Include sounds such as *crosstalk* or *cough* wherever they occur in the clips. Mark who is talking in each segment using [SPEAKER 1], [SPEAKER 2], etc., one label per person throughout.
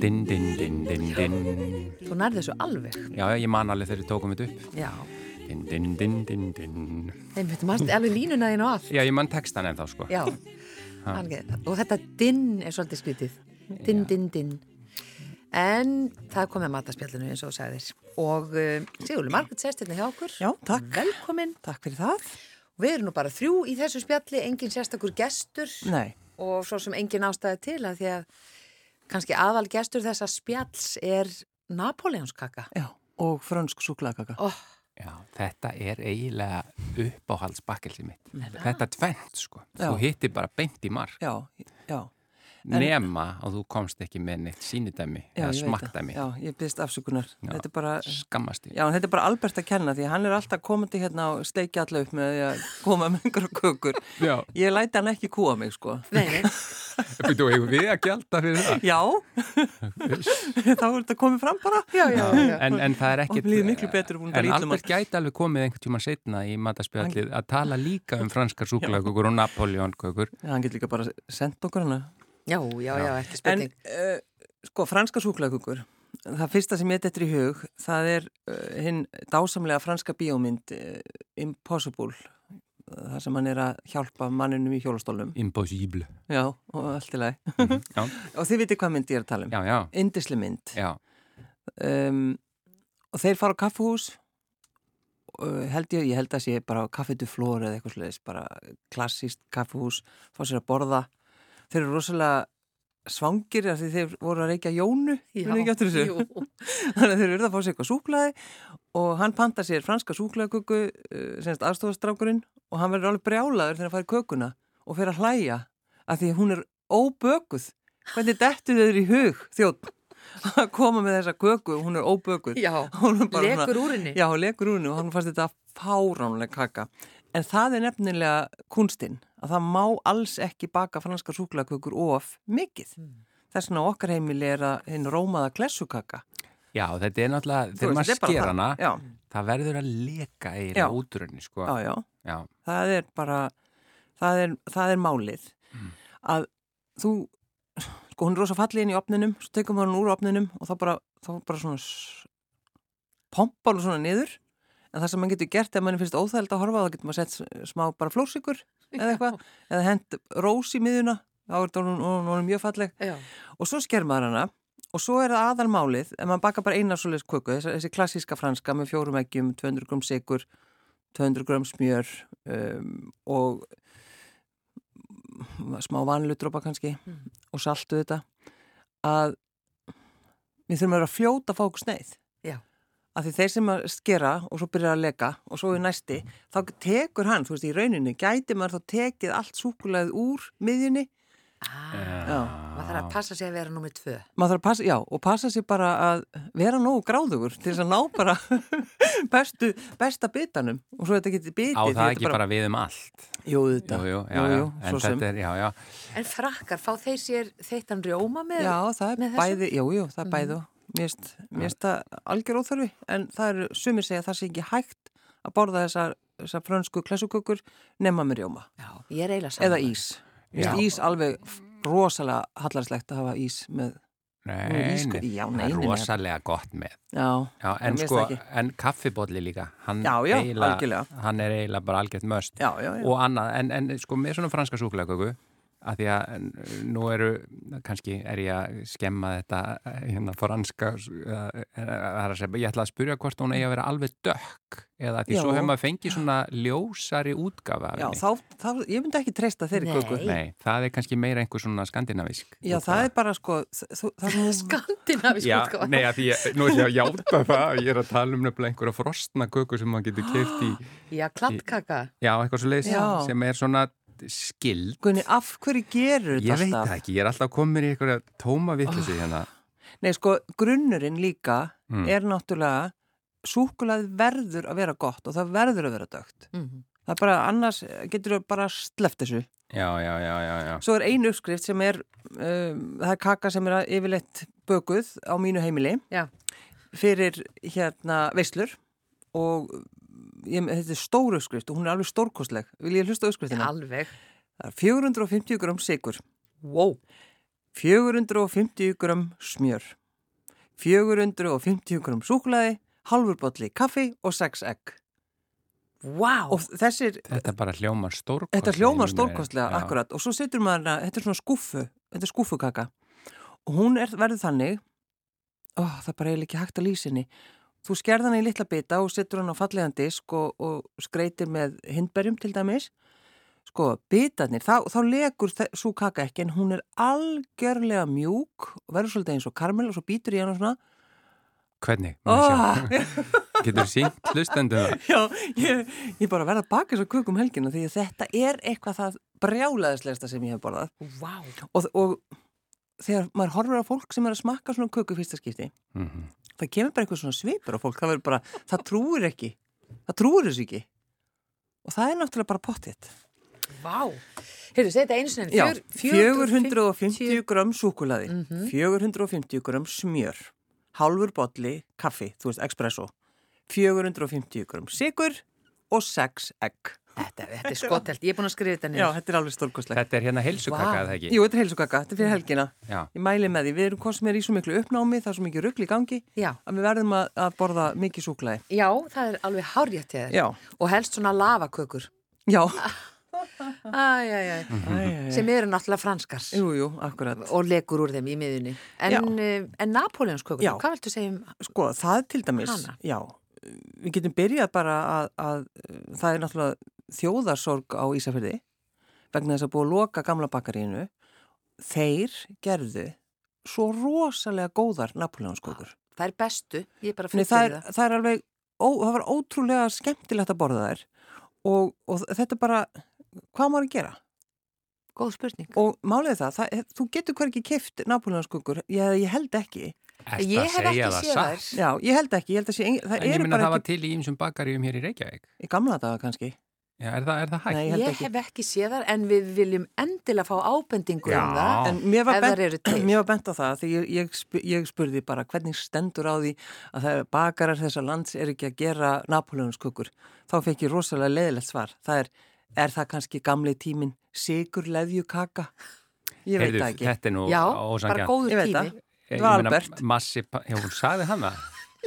[SPEAKER 1] Din, din, din, din, din.
[SPEAKER 2] Þú nærði þessu alveg.
[SPEAKER 1] Já, ég man alveg þegar ég tókum þetta upp.
[SPEAKER 2] Já.
[SPEAKER 1] Din, din, din, din, din.
[SPEAKER 2] Einmitt, mannst alveg línuna þín og allt.
[SPEAKER 1] Já, ég man textan ennþá, sko.
[SPEAKER 2] Já. Alveg. Og þetta dinn er svolítið skrítið. Dinn, dinn, dinn. En það kom með mataspjallinu eins og þú sagðir. Og uh, Sigurli Margrit sest hérna hjá okkur.
[SPEAKER 3] Já, takk.
[SPEAKER 2] Velkomin.
[SPEAKER 3] Takk fyrir það.
[SPEAKER 2] Við erum nú bara þrjú í þessu spjalli, engin sérstakur gestur
[SPEAKER 3] Nei.
[SPEAKER 2] og svo sem engin ástæði til að því að kannski aðal gestur þessa spjalls er Napoleonskaka.
[SPEAKER 3] Já. Og frönsk súklakaka.
[SPEAKER 2] Oh,
[SPEAKER 1] Já, þetta er eiginlega uppáhaldsbakkelsi mitt. Þetta tvennt, sko.
[SPEAKER 3] Já.
[SPEAKER 1] Þú hittir bara beint í mark.
[SPEAKER 3] Já, já.
[SPEAKER 1] Nema að þú komst ekki með neitt sínidæmi eða
[SPEAKER 3] já ég veit það.
[SPEAKER 1] smaktæmi.
[SPEAKER 3] Já, ég byrst afsökunar. Þetta er bara...
[SPEAKER 1] Skammast þín.
[SPEAKER 3] Já, en þetta er bara Albert að kenna því að hann er alltaf komandi hérna og steikja alla upp með því að koma með einhverja kökur.
[SPEAKER 1] Já.
[SPEAKER 3] Ég læti hann ekki kúa mig, sko.
[SPEAKER 2] nei, nei.
[SPEAKER 1] Býtu, hefur við að gjalda fyrir það?
[SPEAKER 3] *laughs* Já, þá er þetta komið fram bara.
[SPEAKER 2] *laughs* Já, já, já.
[SPEAKER 1] En, en það er ekkit...
[SPEAKER 3] Og líður miklu betur um
[SPEAKER 1] En
[SPEAKER 3] það ítlum
[SPEAKER 1] Albert gæti alveg komið einhvern tíma setna í mataspjallið að tala líka um franskar súklakökur og napoleonkökur.
[SPEAKER 3] Hann getur líka bara sendt okkur hana.
[SPEAKER 2] Já, já, já, ekki
[SPEAKER 3] En
[SPEAKER 2] spurning.
[SPEAKER 3] uh, sko, franska súklakökur, það fyrsta sem ég dettur í hug, það er uh, hinn dásamlega franska bíómynd uh, Impossible, það sem hann er að hjálpa manninum í hjólastólnum.
[SPEAKER 1] Impossible.
[SPEAKER 3] Já, og allt í lagi.
[SPEAKER 1] Já,
[SPEAKER 3] og þið vitið hvað mynd ég er að tala um.
[SPEAKER 1] já, já.
[SPEAKER 3] Indisli mynd.
[SPEAKER 1] já.
[SPEAKER 3] Um, og þeir fara á kaffuhús, uh, held ég, ég held að sé bara kaffetu flóri eða eitthvað sliðis, bara klassíst kaffuhús, fá sér að borða. Þeir eru rosalega svangir af því þeir voru að reykja Jónu
[SPEAKER 2] Já,
[SPEAKER 3] munið ekki eftir þessu?
[SPEAKER 2] jú.
[SPEAKER 3] þannig að þeir eru að fá sér eitthvað súklaði og hann panta sér franska eh, súklaðköku semst aðstofastrákurinn og hann verður alveg brjálaður þegar hann fær kökuna og fer að hlæja af því að hún er óbökuð hvernig dettu þeir í hug þjótt að koma með þessa köku og hún er óbökuð
[SPEAKER 2] Já, *laughs*
[SPEAKER 3] Hún er bara
[SPEAKER 2] lekur
[SPEAKER 3] svona-
[SPEAKER 2] úr henni.
[SPEAKER 3] Já, hún lekur úr henni og hann fannst þetta fáránlega kaka en það er nefnilega kunstinn að það má alls ekki baka franska súklaðkökur of mikið þess vegna á okkar heimili er að hinn rómaða klessukaka
[SPEAKER 1] Já, þetta er náttúrulega,
[SPEAKER 3] veist,
[SPEAKER 1] þegar maður
[SPEAKER 3] þetta er bara
[SPEAKER 1] sker
[SPEAKER 3] það.
[SPEAKER 1] hana,
[SPEAKER 3] Já.
[SPEAKER 1] það verður að leka
[SPEAKER 3] Já.
[SPEAKER 1] eiginlega útrunni, sko.
[SPEAKER 3] Já, já,
[SPEAKER 1] Já,
[SPEAKER 3] það er bara, það er, það er málið að þú, sko hún er rosa fallið inn í opninum, svo tekum við hún úr opninum og þá bara, þá bara svona s- pompar hún svona niður en það sem mann getur gert ef mann finnst óþægild að horfa á, þá getur maður sett s- smá bara flórsikur eða eitthvað, eða hent rós í miðuna, þá er þetta hún, hún, hún er mjög falleg
[SPEAKER 2] Já,
[SPEAKER 3] og svo sker maður hana og svo er það aðalmálið ef maður bakar bara eina svoleiðis köku þessi, þessi klassíska franska með fjórum eggjum 200 gram sigur, 200 gram smjör um, og smá vanlutrópa kannski og saltu þetta að við þurfum að vera að fljóta að fá okkur sneið
[SPEAKER 2] Já.
[SPEAKER 3] að því þeir sem að skera og svo byrjar að leka og svo er næsti, þá tekur hann, þú veist, í rauninni gæti maður þá tekið allt súkulegð úr miðjunni
[SPEAKER 2] ah, maður þarf að passa sig að vera nummið tvö.
[SPEAKER 3] maður þarf að passa, já, og passa sér bara að vera nógu gráðugur til þess að ná bara *laughs* bestu, besta bitanum og svo þetta getur bitið.
[SPEAKER 1] á
[SPEAKER 3] því
[SPEAKER 1] það
[SPEAKER 3] þetta
[SPEAKER 1] ekki bara... við um allt.
[SPEAKER 3] Jú, þetta.
[SPEAKER 1] Jú, jú, já, já, en
[SPEAKER 3] svo sem.
[SPEAKER 1] þetta er, já, já.
[SPEAKER 2] En frakkar, fá þeir sér þeittan rjóma með?
[SPEAKER 3] Já, það
[SPEAKER 2] með
[SPEAKER 3] er
[SPEAKER 2] þessu? Mhm.
[SPEAKER 3] bæði, jú, jú, það er bæði og mér finnst- mér finnst það algjör óþörfi en það eru, sumir segja að það sé ekki hægt að borða þessar, þessar frönsku klessukökur nema með rjóma
[SPEAKER 2] Já, ég er eiginlega saman.
[SPEAKER 3] eða ís. Mér
[SPEAKER 1] Já.
[SPEAKER 3] finnst ís alveg f- rosalega hallarslegt að hafa ís með,
[SPEAKER 1] Nei,
[SPEAKER 3] Nú er ískur-
[SPEAKER 1] nei,
[SPEAKER 3] sko- já,
[SPEAKER 1] það
[SPEAKER 3] nei,
[SPEAKER 1] er
[SPEAKER 3] nei, nei.
[SPEAKER 1] rosalega gott með.
[SPEAKER 3] já,
[SPEAKER 1] Já, en
[SPEAKER 3] mér finnst
[SPEAKER 1] sko,
[SPEAKER 3] það ekki.
[SPEAKER 1] en kaffibolli líka, hann,
[SPEAKER 3] Já, já,
[SPEAKER 1] eiginlega-
[SPEAKER 3] algjörlega.
[SPEAKER 1] hann er eiginlega bara algjört möst.
[SPEAKER 3] Já, já, já.
[SPEAKER 1] Og annað, en, en sko með svona franska súklaköku, að því að en, nú eru, kannski er ég að skemma þetta hérna franska, eh, eh, það er að segja, ég ætla að spyrja hvort hún eigi að vera alveg dökk, eða því
[SPEAKER 3] Já.
[SPEAKER 1] svo hefum að fengi svona ljósari útgafa af
[SPEAKER 3] já
[SPEAKER 1] henni.
[SPEAKER 3] þá, þá, ég myndi ekki treysta þeirri
[SPEAKER 2] Nei.
[SPEAKER 3] köku.
[SPEAKER 1] Nei, það er kannski meira einhver svona skandinavísk.
[SPEAKER 3] Já, það er bara sko, þ- þú- það sem hún
[SPEAKER 2] Skandinavísk
[SPEAKER 1] Já,
[SPEAKER 2] útgáfa.
[SPEAKER 1] nei, að því ég, nú er ég að játa það, ég er að tala um nefnilega einhverja frostna köku sem maður getur keift í,
[SPEAKER 3] *gasps*
[SPEAKER 2] Já, kladdkaka.
[SPEAKER 1] já, eitthvað svo leiðis,
[SPEAKER 3] Já.
[SPEAKER 1] sem er svona skild.
[SPEAKER 3] Gunni, af hverju gerur þetta
[SPEAKER 1] Ég veit það
[SPEAKER 3] alltaf?
[SPEAKER 1] ekki, ég er alltaf komin í einhverja tóma vitlusi hérna.
[SPEAKER 3] Nei, sko, grunnurinn líka
[SPEAKER 1] Mm.
[SPEAKER 3] er náttúrulega, súkulað verður að vera gott og það verður að vera dögt.
[SPEAKER 2] Mhm.
[SPEAKER 3] það er bara, annars getur þú bara sleft þessu
[SPEAKER 1] já, já, já, já, já.
[SPEAKER 3] Svo er einu uppskrift sem er, um, það er kaka sem er yfirleitt bökuð á mínu heimili
[SPEAKER 2] Já.
[SPEAKER 3] fyrir hérna veislur og ég, þetta er stór uppskrift og hún er alveg stórkostleg. Vil ég hlusta á uppskriftina?
[SPEAKER 2] Alveg.
[SPEAKER 3] Það er 450 gram sigur,
[SPEAKER 2] Wow.
[SPEAKER 3] 450 gram smjör, 450 gram súklaði, halvur bolli kaffi og 6 egg.
[SPEAKER 2] Wow.
[SPEAKER 3] Og þessir,
[SPEAKER 1] Þetta bara hljómar stórkostlega.
[SPEAKER 3] þetta hljómar
[SPEAKER 1] í mínum eyrum.
[SPEAKER 3] stórkostlega,
[SPEAKER 1] Já.
[SPEAKER 3] akkurat. Og svo setur maður hana, þetta er svona skúfu, þetta er skúfukaka. Og hún er, verður þannig, ó, það er bara eiginlega ekki hægt að lýsa henni. Þú skerð hana í litla bita og setur hana á fallegan disk og, og skreitir með hindberjum til dæmis. Sko, bitarnir, þá, þá legur svo kaka ekki en hún er algjörlega mjúk og verður svolítið eins og karmel og svo býtur í hana svona.
[SPEAKER 1] Hvernig?
[SPEAKER 3] Oh,
[SPEAKER 1] Oh. Getur sínt hlustendum það?
[SPEAKER 3] *laughs* Já, ég, ég bara verða að baka þessu kökum um helgina því að þetta er eitthvað það brjálaðislegsta sem ég hef borðað
[SPEAKER 2] Wow.
[SPEAKER 3] og, og þegar maður horfir á fólk sem er að smakka svona köku í fyrsta skipti
[SPEAKER 1] Mm
[SPEAKER 3] það kemur bara eitthvað svona svipur á fólk það verður bara, það trúir ekki það trúir þessu ekki og það er náttúrulega bara pottitt
[SPEAKER 2] Wow. Heyrðu, segja þetta einu sinni.
[SPEAKER 3] Já,
[SPEAKER 2] Fjör-
[SPEAKER 3] 450 grömm súkulaði 450 grömm smjör hálfur bolli kaffi, þú veist, espresso 450 grömm sigur og 6 egg
[SPEAKER 2] Þetta, þetta er skotelt. Ég er búin að skrifa þetta
[SPEAKER 3] Já,
[SPEAKER 2] niður.
[SPEAKER 3] þetta er alveg stórkostlegt
[SPEAKER 1] Þetta er hérna heilsukaka
[SPEAKER 2] Vá.
[SPEAKER 1] eða ekki? Mm.
[SPEAKER 3] Jú, þetta er heilsugaka, þetta er fyrir helgina.
[SPEAKER 1] Já.
[SPEAKER 3] Ég mæli með því, við erum hvað sem er í svo miklu uppnámi, það er svo mikið ruggli í gangi,
[SPEAKER 2] Já.
[SPEAKER 3] að við verðum að, að borða mikið súklaði.
[SPEAKER 2] Já, það er alveg hárjætt til þér.
[SPEAKER 3] Já.
[SPEAKER 2] Og helst svona lavakökur.
[SPEAKER 3] Já.
[SPEAKER 2] Æj, æj,
[SPEAKER 3] Mhm.
[SPEAKER 2] æj.
[SPEAKER 3] Sem,
[SPEAKER 2] Sem eru náttúrulega franskars.
[SPEAKER 3] jú, jú, akkurat.
[SPEAKER 2] og legur úr þeim í miðunni
[SPEAKER 3] Já.
[SPEAKER 2] en, eh, en Napoleonskökur,
[SPEAKER 3] Já.
[SPEAKER 2] hvað viltu segja um
[SPEAKER 3] Sko, það til dæmis,
[SPEAKER 2] Hana.
[SPEAKER 3] já, við getum byrjað bara að, að uh, það er náttúrulega þjóðarsorg á Ísafjörði vegna þess að búið að loka gamla bakarínu. Þeir gerðu svo rosalega góðar Napoleonskókur.
[SPEAKER 2] það er bestu, ég er bara
[SPEAKER 3] Nei,
[SPEAKER 2] fyrir
[SPEAKER 3] það,
[SPEAKER 2] það,
[SPEAKER 3] er, það er alveg, ó, það var ótrúlega skemmtilegt að borða þær og, og þetta er bara, hvað á maður að gera?
[SPEAKER 2] góð spurning
[SPEAKER 3] Og málið er það, það þú getur hver ekki kift nápúlinarskukur, ég, ég held ekki,
[SPEAKER 1] Ertu
[SPEAKER 2] Ég
[SPEAKER 1] að
[SPEAKER 2] hef
[SPEAKER 1] segja
[SPEAKER 2] ekki
[SPEAKER 1] það
[SPEAKER 2] séð
[SPEAKER 1] satt?
[SPEAKER 2] þær.
[SPEAKER 3] já, ég held ekki, ég held að sé, engin- það
[SPEAKER 1] En ég
[SPEAKER 3] eru
[SPEAKER 1] minna að
[SPEAKER 3] bara
[SPEAKER 1] það var
[SPEAKER 3] ekki,
[SPEAKER 1] til í ýmsum bakaríum hér í Reykjavík.
[SPEAKER 3] í gamla daga kannski,
[SPEAKER 1] Já, er, það, er það hægt?
[SPEAKER 3] Nei,
[SPEAKER 2] ég,
[SPEAKER 3] ég held ekki.
[SPEAKER 2] hef ekki séð þar en við viljum endilega fá ábendingu
[SPEAKER 1] Já.
[SPEAKER 2] um það
[SPEAKER 3] En mér var,
[SPEAKER 2] Ef þær eru
[SPEAKER 3] bent,
[SPEAKER 2] til.
[SPEAKER 3] mér var bent á það því ég, ég, sp- ég spurði bara hvernig stendur á því að það er bakarar þessa lands er ekki að gera Napoleonskökur. Þá fekk ég rosalega leiðilegt svar. Það er, er það kannski gamli tímin sigur leðjukaka? Ég veit
[SPEAKER 1] Heyrðu,
[SPEAKER 3] það ekki.
[SPEAKER 1] Þetta er nú
[SPEAKER 2] já, bara
[SPEAKER 1] ósangja.
[SPEAKER 2] góður
[SPEAKER 3] Ég veit
[SPEAKER 2] tími
[SPEAKER 3] það. þetta var Albert.
[SPEAKER 1] Massi, pa- já, hún sagði hann það.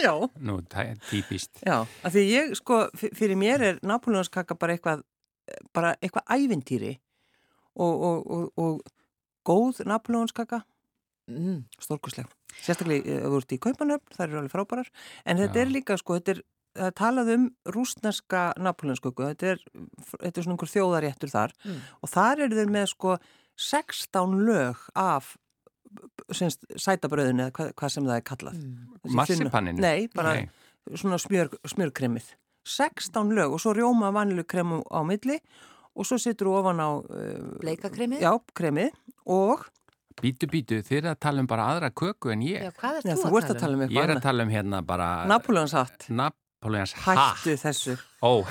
[SPEAKER 3] Já.
[SPEAKER 1] Nú, tæ- típist.
[SPEAKER 3] Já, af því ég sko, f- fyrir mér er Napoleonskaka bara eitthvað, bara eitthvað ævintýri og, og, og, og góð Napoleonskaka,
[SPEAKER 2] mm.
[SPEAKER 3] stórkosleg. Sérstaklega ef þú ert í kaupanöfn, það eru alveg frábærar. En þetta
[SPEAKER 1] Já.
[SPEAKER 3] er líka, sko, þetta er, það er talað um rúsneska napóleonsköku, þetta er, þetta er svona einhver þjóðaréttur þar.
[SPEAKER 2] Mm.
[SPEAKER 3] Og þar eru þeir með, sko, 16 lög af semst, sætabröðinu eða hvað, hvað sem það er kallað.
[SPEAKER 2] Mm.
[SPEAKER 3] Þessi
[SPEAKER 1] Marsipaninu?
[SPEAKER 3] þunna- Nei, bara
[SPEAKER 1] Nei.
[SPEAKER 3] svona smjör, smjörkremið. 16 lög og svo rjóma vanilu kremu á milli og svo setur þú ofan á uh,
[SPEAKER 2] bleikakremið
[SPEAKER 3] já, kremið og
[SPEAKER 1] Bítu, bítu, þið er að tala um bara aðra köku en ég.
[SPEAKER 2] Já, hvað er
[SPEAKER 3] já,
[SPEAKER 2] þú
[SPEAKER 3] þú ert að tala um
[SPEAKER 1] Ég er
[SPEAKER 3] eitthvað
[SPEAKER 1] að tala um hérna bara...
[SPEAKER 3] Napoleonshatt,
[SPEAKER 1] Napoleons
[SPEAKER 3] hættu þessu
[SPEAKER 1] Ó,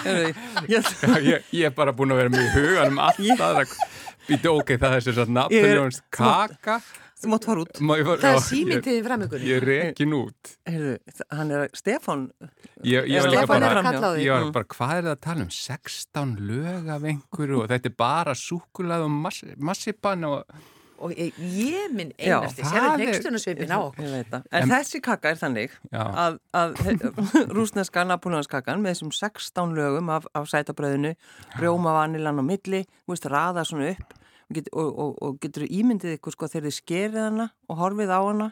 [SPEAKER 3] Heyrðu, ég,
[SPEAKER 1] *laughs* ég, ég er bara búin að vera með í hugan um allt aðra... Býtu, ok, það er sem sagt
[SPEAKER 3] Ég er-
[SPEAKER 1] Napoleons kaka.
[SPEAKER 3] þú mátt fara út
[SPEAKER 1] Má ég fara-
[SPEAKER 2] það er
[SPEAKER 1] já, ég-
[SPEAKER 2] símyndiðin fram ykkur
[SPEAKER 1] Ég rekin út.
[SPEAKER 3] Heyrðu, þa- hann er Stefan
[SPEAKER 1] Ég, ég var líka
[SPEAKER 2] Stefán er
[SPEAKER 1] bara...
[SPEAKER 2] að kalla á
[SPEAKER 1] Ég
[SPEAKER 2] því Mm.
[SPEAKER 1] var bara, hvað er það að tala um? 16 lög af einhverju og þetta er bara súkulað og mass, massipan og...
[SPEAKER 2] og ég, ég minn
[SPEAKER 3] Já,
[SPEAKER 2] einasti
[SPEAKER 1] það
[SPEAKER 2] séðu
[SPEAKER 1] er-
[SPEAKER 2] nextunarsveipin á okkur
[SPEAKER 3] Ég veit það. En, þessi kaka er þannig
[SPEAKER 1] Já.
[SPEAKER 3] að, að *laughs* rúsneska napóleonskakan með þessum 16 lögum af, af sætabröðinu, rjóma vanilan á milli, þú veist, raða svona upp og, get, og, og, og getur ímyndið ykkur sko þegar þið skerið hana og horfið á hana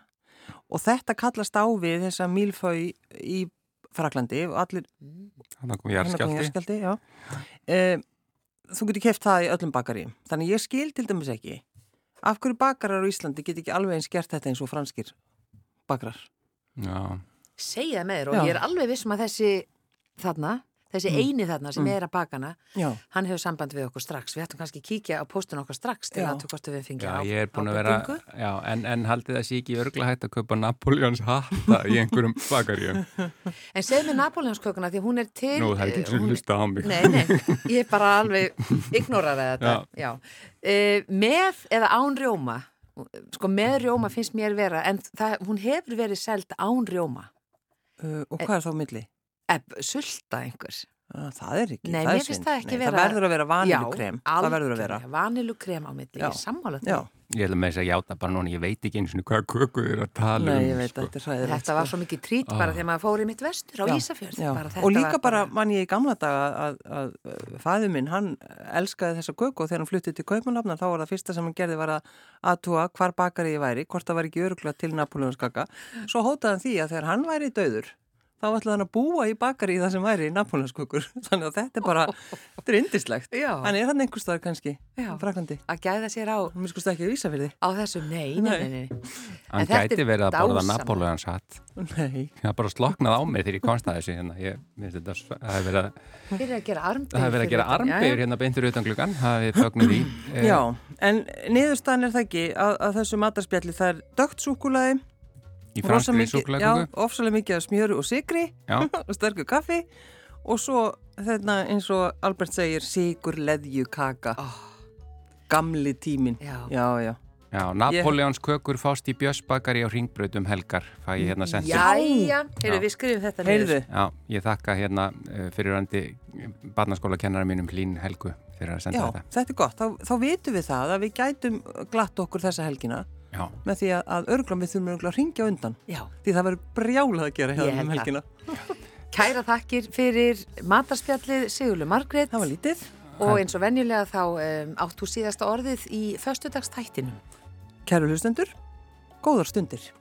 [SPEAKER 3] og þetta kallast á við þessa mílfau í Fraklandi og allir
[SPEAKER 1] Þannig kom
[SPEAKER 3] Hennar Hérna kom
[SPEAKER 1] jarðskjálfti.
[SPEAKER 3] jarðskjálfti, já. Eh, þú getur keft það í öllum bakaríum. Þannig ég skil til dæmis ekki. Af hverju bakarar á Íslandi get ekki alveg eins gert þetta eins og franskir bakarar?
[SPEAKER 1] Já.
[SPEAKER 2] segja það með þér og
[SPEAKER 3] Já. Mm.
[SPEAKER 2] ég er alveg vissum að þessi um þarna þessi eini þarna sem er að baka hana
[SPEAKER 3] Já.
[SPEAKER 2] hann hefur samband við okkur strax við ættum kannski að kíkja á póstun okkar strax til
[SPEAKER 3] Já.
[SPEAKER 2] að þú hvort við fengja
[SPEAKER 1] Já,
[SPEAKER 2] á
[SPEAKER 1] ég er búin að vera,
[SPEAKER 2] ábendingu.
[SPEAKER 1] já, en, en haldið það sé ekki örgla hægt að kaupa Napoleons hatta í einhverjum bakaríum.
[SPEAKER 2] en segð mér Napoleonskökuna því hún er til
[SPEAKER 1] Nú, það er ekki eins og
[SPEAKER 2] hún-
[SPEAKER 1] hlusta á mig.
[SPEAKER 2] Nei, nei, ég er bara alveg ignoraði
[SPEAKER 1] *laughs*
[SPEAKER 2] þetta Já. Eh, með eða án rjóma sko með rjóma finnst mér vera en það, hún hefur verið seld án rjóma
[SPEAKER 3] Uh,
[SPEAKER 2] Eh.
[SPEAKER 3] og hvað er þá á milli?
[SPEAKER 2] Ebb, sulta einhver
[SPEAKER 3] Uh, það er ekki,
[SPEAKER 2] Nei,
[SPEAKER 3] það
[SPEAKER 2] mér
[SPEAKER 3] er
[SPEAKER 2] finnst
[SPEAKER 3] synd.
[SPEAKER 2] það ekki
[SPEAKER 3] Nei,
[SPEAKER 2] vera-
[SPEAKER 3] Það verður að vera vanilukrem, það verður að vera.
[SPEAKER 2] vanilukrem á milli,
[SPEAKER 3] Já.
[SPEAKER 2] ég er sammála því
[SPEAKER 3] Já,
[SPEAKER 1] Ég ætla með þess að játa bara núna, ég veit ekki eins og hvað köku þið er að tala
[SPEAKER 3] nei,
[SPEAKER 1] um.
[SPEAKER 3] ég veit,
[SPEAKER 1] sko.
[SPEAKER 3] þetta er hræðilegt.
[SPEAKER 2] Þetta var svo mikið trít
[SPEAKER 1] Ah.
[SPEAKER 2] bara þegar maður fór í mitt vestur á
[SPEAKER 3] Já,
[SPEAKER 2] Ísafjörð
[SPEAKER 3] já.
[SPEAKER 2] bara þetta
[SPEAKER 3] og líka
[SPEAKER 2] var
[SPEAKER 3] bara, mann ég í gamla daga að, að, að fæðu minn, hann elskaði þessa köku og þegar hann fluttið til Kaupmannafnar þá var það fyrsta sem hann gerði var að aðtúa hvar bakari ég væri, hvort það var ekki örugla til Napolónskaka, svo hótaði hann því að þegar hann væri döður þá ætlaði hann að búa í bakari í það sem væri Napolónskökur, *laughs* þannig að þetta er
[SPEAKER 2] *laughs*
[SPEAKER 3] bara þetta er indislegt,
[SPEAKER 2] Já.
[SPEAKER 3] hann er hann einhverstaðar kannski,
[SPEAKER 2] Já.
[SPEAKER 3] frakandi
[SPEAKER 2] að gæða sér á,
[SPEAKER 3] hann mér sko ekki að vísa fyrir
[SPEAKER 2] á þessum nei, nei, nei, nei. En
[SPEAKER 1] Hann
[SPEAKER 2] þetta
[SPEAKER 1] gæti
[SPEAKER 2] er
[SPEAKER 1] verið að borða
[SPEAKER 2] dásamlegt.
[SPEAKER 1] Napoleons hatt.
[SPEAKER 3] því nei,
[SPEAKER 1] Það bara sloknað á mig þegar ég komst að þessu hérna. Ég, mér finnst þetta, svo- það hefur verið að-
[SPEAKER 2] fyrir að gera armbeir
[SPEAKER 1] það hefur verið að gera armbegur hérna beintur utan gluggan, það hefur fögnir því. Eh,
[SPEAKER 3] Já, en niðurstaðan er það ekki að, að þessu matarspjalli það er dögt súkulaði
[SPEAKER 1] Í
[SPEAKER 3] rosa
[SPEAKER 1] franskri
[SPEAKER 3] mikið- Já,
[SPEAKER 1] súklaköku.
[SPEAKER 3] ofsalega mikið af smjöru og sigri
[SPEAKER 1] Já.
[SPEAKER 3] *laughs* og sterku kaffi og svo þetta eins og Albert segir sigur leðju kaka gamli tímin
[SPEAKER 2] Ah. Já.
[SPEAKER 3] já, já.
[SPEAKER 1] Já, Napoleons kökur fást í Björnsbakari á Ringbrautum helgar, fæ ég hérna sendið.
[SPEAKER 2] Jæja, heyrðu
[SPEAKER 1] Já.
[SPEAKER 2] við skrifum þetta niður.
[SPEAKER 3] heyrðu,
[SPEAKER 1] Já, ég þakka hérna fyrirandi barnaskóla kennara mínum Hlín Helgu fyrir að senda
[SPEAKER 3] já,
[SPEAKER 1] þetta.
[SPEAKER 3] þetta er gott þá, þá vitum við það að við gætum glatt okkur þessa helgina
[SPEAKER 1] Já,
[SPEAKER 3] með því að, að örglum við þurfum örglum að ringja undan
[SPEAKER 2] Já,
[SPEAKER 3] því það verður brjálað að gera
[SPEAKER 2] Ég
[SPEAKER 3] hérna
[SPEAKER 2] held
[SPEAKER 3] um
[SPEAKER 2] það.
[SPEAKER 3] helgina
[SPEAKER 2] kæra þakkir fyrir matarspjallið Sigurlu Margrét
[SPEAKER 3] það var lítið
[SPEAKER 2] og eins og venjulega þá um, átt þú síðasta orðið í föstudagstættinum.
[SPEAKER 3] kæru hlustendur, góðar stundir